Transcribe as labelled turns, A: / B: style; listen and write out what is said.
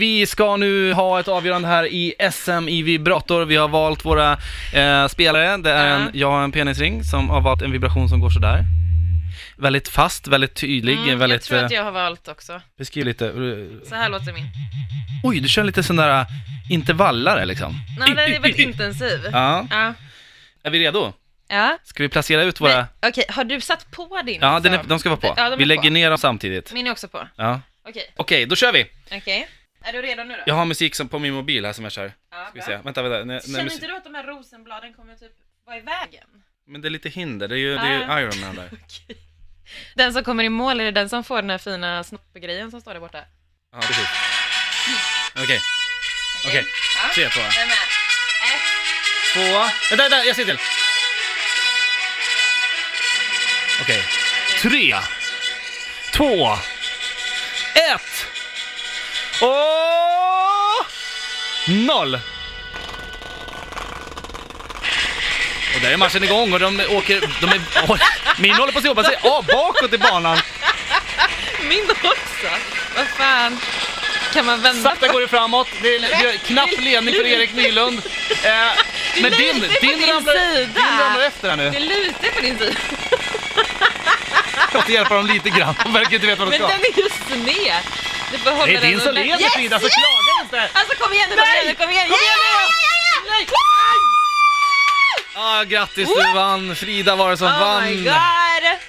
A: Vi ska nu ha ett avgörande här i SM i vibrator. Vi har valt våra eh, spelare. Det är en,
B: Ja.
A: jag har en penisring som har valt en vibration som går sådär. Väldigt fast, väldigt tydlig,
B: Mm, jag
A: väldigt...
B: tror
A: eh,
B: att jag har valt också.
A: Beskriv lite. eh,
B: Så här låter min.
A: Oj, du kör lite sån där eh, intervallare liksom.
B: Nej, den är väldigt intensiv.
A: Ja.
B: Ja.
A: Är vi redo?
B: ja.
A: Ska vi placera ut våra...
B: Men, Okej, har du satt på din?
A: Ja, den är,
B: också?
A: de ska vara på.
B: Ja, de är
A: vi lägger
B: på.
A: ner dem samtidigt.
B: Min är också på.
A: Ja.
B: Okej,
A: Okej, då kör vi!
B: okej. Är du redo nu då?
A: Jag har musik som på min mobil här som jag kör. Ska
B: Ja,
A: vi
B: bra.
A: se. Vänta, vänta. Nej, nej,
B: Känner
A: musik-
B: inte du att de här rosenbladen kommer typ vara i vägen?
A: Men det är lite hinder, det är ju, det är
B: Ah.
A: ju Iron Man där.
B: Okej. Den som kommer i mål, är det den som får den här fina snoppegrejen som står där borta?
A: Ja, precis. Okej, okej.
B: Ja.
A: Tre, två.
B: Jag är Äh, med. Ett.
A: Två. Vänta, vänta, jag ser till. Okej. Tre. Två. Ett. Och... Noll. Och där är matchen igång och de åker... De är, oj, min håller på att jobba sig av bakåt i banan.
B: Min också! Vad fan. Kan man vända
A: Sakta går det framåt, det är det är knapp ledning för Erik Nylund. Eh, men
B: Det är
A: din,
B: lite på
A: din,
B: din
A: ramlar,
B: sida.
A: din ramlar efter här nu.
B: Det lutar på din sida.
A: Jag ska hjälpa dem lite grann, de verkar inte veta vad de
B: Men
A: ska.
B: den är ju sned! Du får hålla
A: Det är
B: den
A: din som
B: ordentligt.
A: leder
B: yes!
A: Frida, så klaga inte!
B: Alltså kom igen nu, kom igen nu, kom igen! Kom igen nu! Nej!
A: Ah, grattis, du vann! Frida var det som
B: Oh my god!